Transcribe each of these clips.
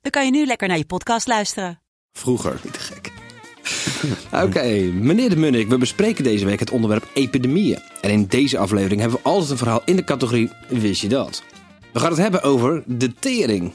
dan kan je nu lekker naar je podcast luisteren. Vroeger. Niet te gek. Oké, meneer de Munnik, we bespreken deze week het onderwerp epidemieën. En in deze aflevering hebben we altijd een verhaal in de categorie Wist je dat? We gaan het hebben over de tering.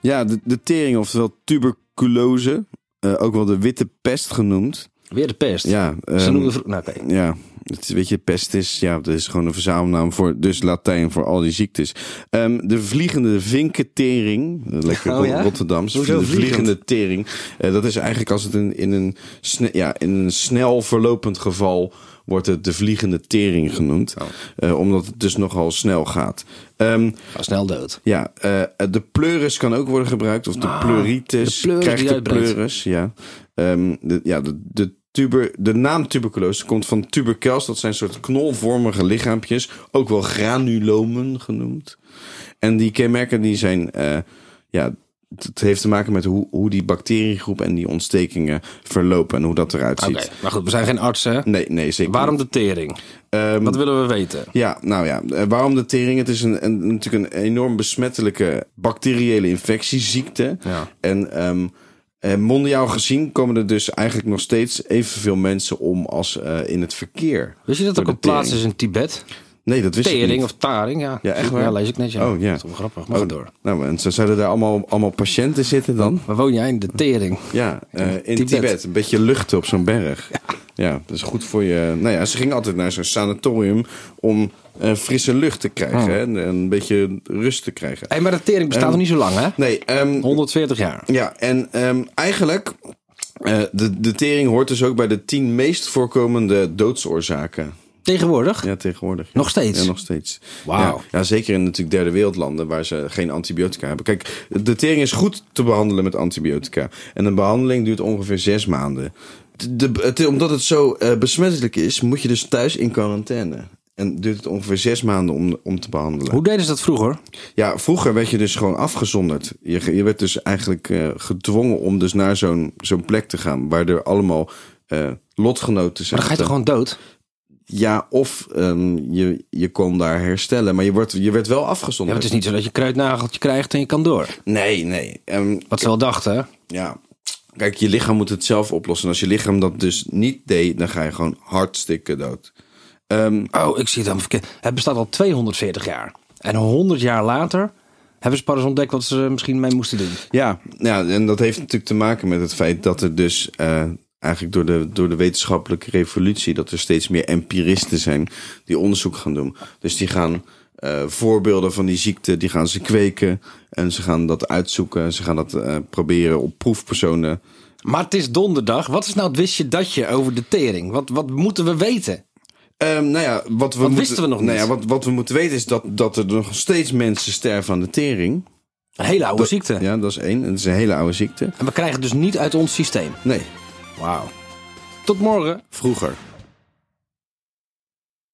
Ja, de, de tering, oftewel tuberculose. eh, ook wel de witte pest genoemd. Weer de pest. Ja, Ze ehm, noemen vro- nou, oké. Ja, het is, weet je, pest is, ja, dat is gewoon een verzamelnaam voor, dus Latijn voor al die ziektes. Ehm, de vliegende vinkentering, eh, lekker Oh Rot- ja? Rotterdams. Hoezo de vliegend? vliegende tering, eh, dat is eigenlijk als het in, in, een sne- ja, in een snel verlopend geval wordt het de vliegende tering genoemd. Oh. Eh, omdat het dus nogal snel gaat. Ehm, Ga snel dood. ja, eh, de pleuris kan ook worden gebruikt. Of de pleuritis. Ah, de pleuris die krijgt de uitbreidt. pleuris, ja. Ehm, de, ja de, de, tuber, de naam tuberculose komt van tubercels. Dat zijn soort knolvormige lichaampjes. Ook wel granulomen genoemd. En die kenmerken die zijn... eh, ja, het- het heeft te maken met hoe, hoe die bacteriegroep en die ontstekingen verlopen. En hoe dat eruit Oké, ziet. maar goed, we zijn geen artsen. Nee, nee, zeker Waarom niet. de tering? Ehm, Wat willen we weten? ja, nou ja, eh, waarom de tering? Het is een, een, natuurlijk een enorm besmettelijke bacteriële infectieziekte. Ja. En ehm, eh, mondiaal gezien komen er dus eigenlijk nog steeds evenveel mensen om als eh, in het verkeer. Wist je dat Door ook de een plaats tering. is in Tibet? Nee, dat wist ik Tering niet. of taring, ja. Ja, echt waar? Ja, lees ik net, ja. Oh, ja. Dat is wel grappig, maar Oh, ga door. Nou, en zo zouden daar allemaal, allemaal patiënten zitten dan? Waar woon jij? In de tering. Ja, eh, in Tibet. Tibet. Een beetje luchten op zo'n berg. Ja. dat is goed voor je. Nou ja, ze gingen altijd naar zo'n sanatorium om eh, frisse lucht te krijgen. Hè, en een beetje rust te krijgen. Hé, maar de tering bestaat Ehm, nog niet zo lang, hè? Nee, ehm, 140 jaar. ja, en ehm, eigenlijk, eh, de, de tering hoort dus ook bij de tien meest voorkomende doodsoorzaken. Tegenwoordig? Ja, tegenwoordig. ja. Nog steeds? Ja, nog steeds. Wauw. Ja, ja, zeker in natuurlijk derde wereldlanden waar ze geen antibiotica hebben. Kijk, de tering is goed te behandelen met antibiotica. En een behandeling duurt ongeveer zes maanden. De, de- het, omdat het zo eh, besmettelijk is, moet je dus thuis in quarantaine. En duurt het ongeveer zes maanden om, om te behandelen. Hoe deden ze dat vroeger? Ja, vroeger werd je dus gewoon afgezonderd. Je, je werd dus eigenlijk eh, gedwongen om dus naar zo'n zo'n plek te gaan... waar er allemaal eh, lotgenoten Maar zijn. dan ga je toch gewoon dood? Ja, of ehm, je, je kon daar herstellen. Maar je, wordt, je werd wel Ja, maar afgezonderd. het is niet zo dat je kruidnageltje krijgt en je kan door. Nee, nee. Ehm, Wat ze wel dachten, hè? ja. Kijk, je lichaam moet het zelf oplossen. Als je lichaam dat dus niet deed, dan ga je gewoon hartstikke dood. Oh, ik zie het helemaal verkeerd. Het bestaat al 240 jaar. En 100 jaar later hebben ze pas eens ontdekt wat ze er misschien mee moesten doen. Ja, ja, en dat heeft natuurlijk te maken met het feit dat er dus eh, eigenlijk door de, door de wetenschappelijke revolutie, dat er steeds meer empiristen zijn die onderzoek gaan doen. Dus die gaan eh, voorbeelden van die ziekte, die gaan ze kweken en ze gaan dat uitzoeken. Ze gaan dat eh, proberen op proefpersonen. Maar het is donderdag. Wat is nou het wist je dat je over de tering? Wat, wat moeten we weten? Ehm, nou ja, wat we, moeten, wisten we nog Nou niet? ja, wat, wat we moeten weten is dat, dat er nog steeds mensen sterven aan de tering. Een hele oude ziekte. Ja, dat is één. En dat is een hele oude ziekte. En we krijgen het dus niet uit ons systeem. Nee, Wauw. Tot morgen. vroeger.